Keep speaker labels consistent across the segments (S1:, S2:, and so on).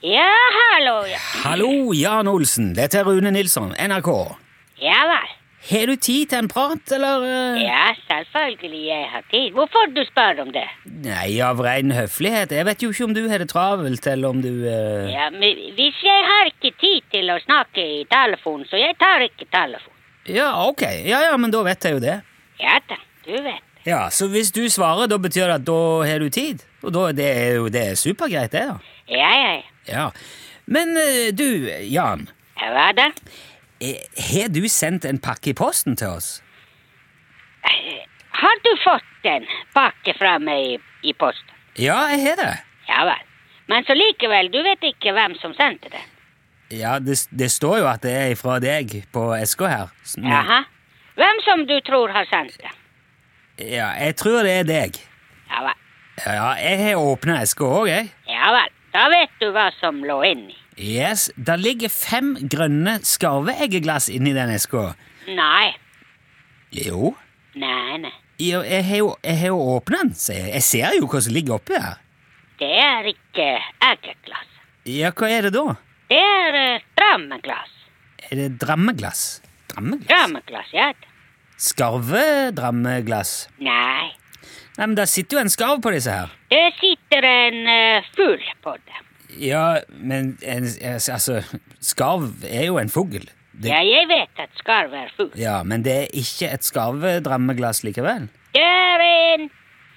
S1: Ja, hallo, ja.
S2: Hallo, Jan Olsen. Dette er Rune Nilsson, NRK.
S1: Ja vel.
S2: Har du tid til en prat, eller? eh?
S1: Ja, selvfølgelig jeg har tid. Hvorfor du spør om det?
S2: Nei, av ren høflighet. Jeg vet jo ikke om du har det travelt, eller om du eh,
S1: Ja, men hvis jeg har ikke tid til å snakke i telefonen, så jeg tar ikke telefon.
S2: Ja, ok. Ja, ja, men da vet jeg jo det.
S1: Ja da, du vet.
S2: Ja, Så hvis du svarer, da betyr det at da har du tid? Og da det er jo det er supergreit, det, da.
S1: Ja, ja, ja.
S2: Ja. Men eh, du, Jan.
S1: Hva da?
S2: eh, Har du sendt en pakke i posten til oss?
S1: Eh, Har du fått en pakke fra meg i, i posten?
S2: Ja, jeg har det.
S1: Ja vel. Men så likevel, du vet ikke hvem som sendte den.
S2: Ja, det, det står jo at det er fra deg på eska her. Så-
S1: Jaha. Hvem som du tror har sendt den?
S2: Ja, jeg tror det er deg.
S1: Ja vel.
S2: Ja, jeg har åpna eska òg, jeg.
S1: Ja vel. Da vet du hva som lå inni.
S2: Yes, Der ligger fem grønne skarveeggeglass inni den eska.
S1: Nei.
S2: Jo.
S1: Nei, nei.
S2: Jo, Jeg har jo- jeg har jo åpna den, sier jeg. Jeg ser jo hva som ligger oppi her.
S1: Det er ikke eggeglass.
S2: Ja, hva er det da?
S1: Det er eh, drammeglass.
S2: Er det drammeglass? Drammeglass?
S1: Drammeglass, ja. da.
S2: Skarvedrammeglass?
S1: Nei,
S2: Nei, men der sitter jo en skarv på disse her.
S1: det sitter en eh, fugl på det.
S2: Ja, men en, altså Skarv er jo en fugl. Det-
S1: Ja, jeg vet at skarv er fugl.
S2: Ja, men det er ikke et skarvedrammeglass likevel.
S1: Det er en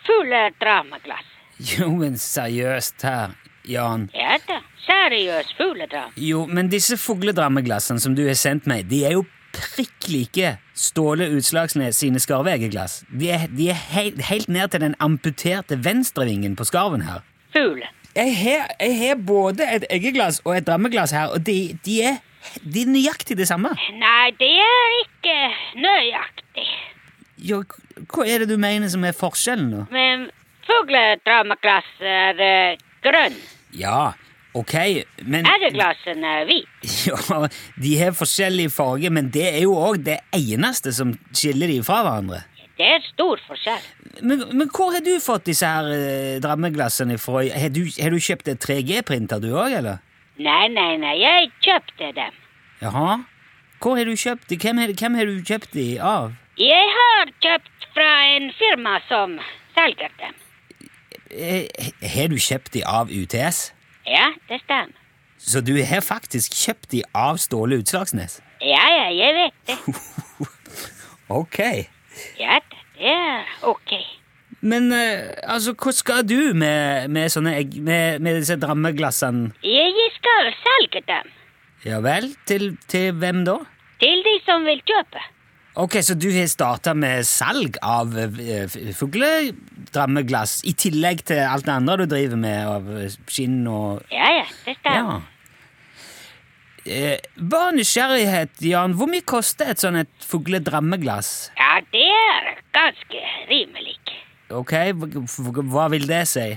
S1: fugledrammeglass.
S2: Jo, men seriøst her, Jan.
S1: Ja da, seriøs fugledram.
S2: Jo, men disse fugledrammeglassene som du har sendt meg, de er jo prikk like Ståle Utslagsnes sine skarveeggeglass. De er, de er helt, helt ned til den amputerte venstrevingen på skarven her.
S1: Fugl.
S2: Jeg har, jeg har både et eggeglass og et drammeglass her, og de, de, er, de er nøyaktig det samme.
S1: Nei, det er ikke nøyaktig.
S2: Jo, hva er det du mener som er forskjellen nå?
S1: Men fugledrammeglass er eh, grønn.
S2: Ja, ok, men...
S1: Eggeglassen er hvit.
S2: Ja, de har forskjellig farge, men det er jo òg det eneste som skiller de fra hverandre.
S1: Det er stor forskjell.
S2: Men, men hvor har du fått disse her eh, drammeglassene fra? Har du, har du kjøpt en 3G-printer du òg, eller?
S1: Nei, nei, nei, jeg kjøpte dem.
S2: Jaha? Hvor har du kjøpt de? Hvem, har- hvem har du kjøpt de av?
S1: Jeg har kjøpt fra en firma som selger dem.
S2: Eh, Har du kjøpt de av UTS?
S1: Ja, det stemmer.
S2: Så du har faktisk kjøpt de av Ståle Utslagsnes?
S1: Ja, ja, jeg vet det.
S2: Ok.
S1: Ja, da, det er ok.
S2: Men eh, altså, hva skal du med, med, sånne egg, med, med disse drammeglassene?
S1: Jeg skal selge dem
S2: Ja vel? Til, til hvem da?
S1: til de som vil kjøpe.
S2: Ok, Så du har starta med salg av eh, f- fugledrammeglass i tillegg til alt det andre du driver med av eh, skinn og
S1: Ja, ja, det stemmer.
S2: Ja. Eh, bare nysgjerrighet, Jan. Hvor mye koster et sånt et fugledrammeglass?
S1: Ja, det er ganske rimelig.
S2: Ok, hva- hva hva vil det si?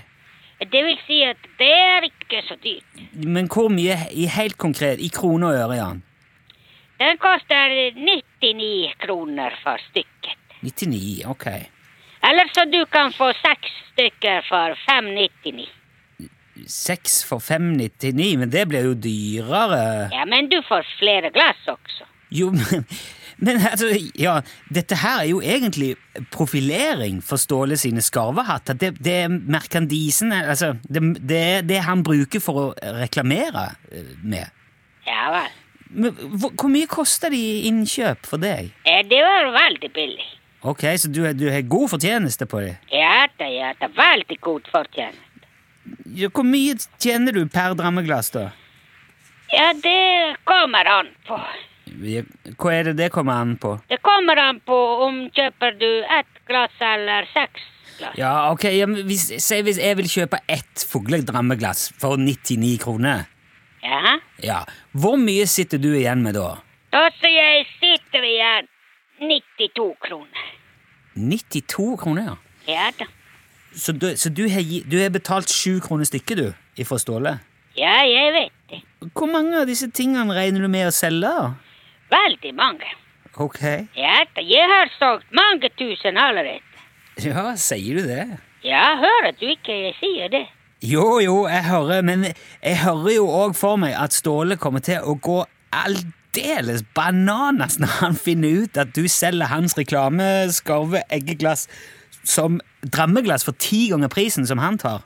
S1: Det vil si at det er ikke så dyrt.
S2: Men hvor mye i helt konkret? I kroner og øre, Jan?
S1: Den koster 99 kroner for stykket.
S2: 99, ok.
S1: Eller så du kan få seks stykker for 599.
S2: 6 for 599, men det blir jo dyrere.
S1: Ja, men du får flere glass også.
S2: Jo, men, men altså, ja, dette her er jo egentlig profilering for Ståle sine skarvehatter. Det, det er merkandisen, altså, det, det er det han bruker for å reklamere eh, med.
S1: Ja vel.
S2: Men hvor, hvor mye koster de i innkjøp for deg?
S1: Eh, Det var veldig billig.
S2: Ok, så du, er- du har god fortjeneste på det.
S1: Ja da, ja da. Veldig god fortjeneste.
S2: Ja, Hvor mye tjener du per drammeglass, da?
S1: Ja, det kommer an på.
S2: Ja, Hva er det det kommer an på?
S1: Det kommer an på om kjøper du ett glass eller seks glass.
S2: Ja, ok, ja, men hvis, si hvis jeg vil kjøpe ett fugledrammeglass for 99 kroner.
S1: Ja.
S2: Ja, Hvor mye sitter du igjen med da?
S1: Da så jeg sitter igjen 92 kroner.
S2: 92 kroner, ja.
S1: Ja da.
S2: Så du, så du, har, gi- du har betalt 7 kroner stykket, du, ifra Ståle?
S1: Ja, jeg vet det.
S2: Hvor mange av disse tingene regner du med å selge? da?
S1: Veldig mange.
S2: Ok.
S1: Ja da, jeg har solgt mange tusen allerede.
S2: Ja, sier du det?
S1: Ja, hører du ikke jeg sier det?
S2: Jo, jo, jeg hører, men jeg hører jo òg for meg at Ståle kommer til å gå aldeles bananas når han finner ut at du selger hans reklameskarve eggeglass som drammeglass for ti ganger prisen som han tar.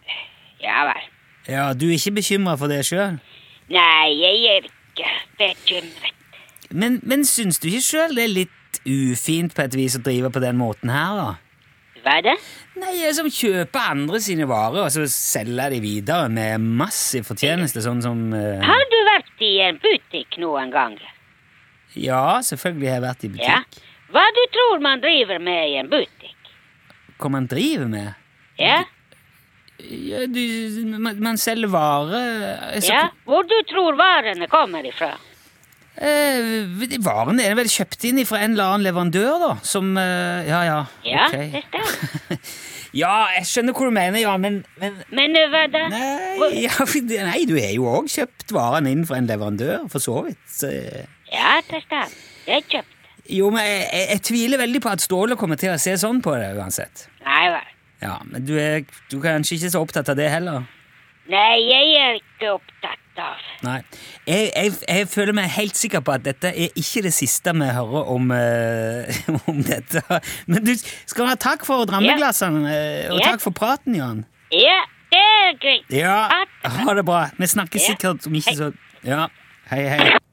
S1: Ja vel.
S2: Ja, Du er ikke bekymra for det sjøl?
S1: Nei, jeg er ikke bekymret.
S2: Men, men syns du ikke sjøl det er litt ufint på et vis å drive på den måten her, da?
S1: Hva da?
S2: Nei, jeg som kjøper andre sine varer, og så selger de videre med massiv fortjeneste, sånn som eh,
S1: Har du vært i en butikk noen gang?
S2: Ja, selvfølgelig har jeg vært i butikk.
S1: Ja. Hva du tror man driver med i en butikk?
S2: Hva man driver med?
S1: Ja?
S2: Mm. Ja, du, man, man selger varer eh, så-
S1: ja? Hvor du tror varene kommer ifra?
S2: Eh, de varene er vel kjøpt inn fra en eller annen leverandør, da, som eh, Ja, ja.
S1: Ja,
S2: ok.
S1: det stemmer.
S2: ja, jeg skjønner hva du mener, ja, men, men
S1: Men eh, hva da? Hvor-
S2: Nei, ja, nei, du er jo òg kjøpt varene inn fra en leverandør, for så vidt. så-
S1: Ja, det stemmer. Jeg kjøpte.
S2: Jo, men jeg, jeg, jeg tviler veldig på at Ståle kommer til å se sånn på det uansett.
S1: Nei vel.
S2: Ja, men du er, du er kanskje ikke så opptatt av det heller?
S1: Nei, jeg er ikke opptatt av
S2: Nei. Jeg, jeg, jeg føler meg helt sikker på at dette er ikke det siste vi hører om, eh, om dette. Men du skal ha takk for drammeglassene, eh, og
S1: Ja.
S2: takk for praten, Jan.
S1: Ja, det er greit.
S2: Ja,
S1: Ha det.
S2: ha det bra. Vi snakkes
S1: Ja.
S2: sikkert om ikke
S1: Hei.
S2: så Ja, hei, hei.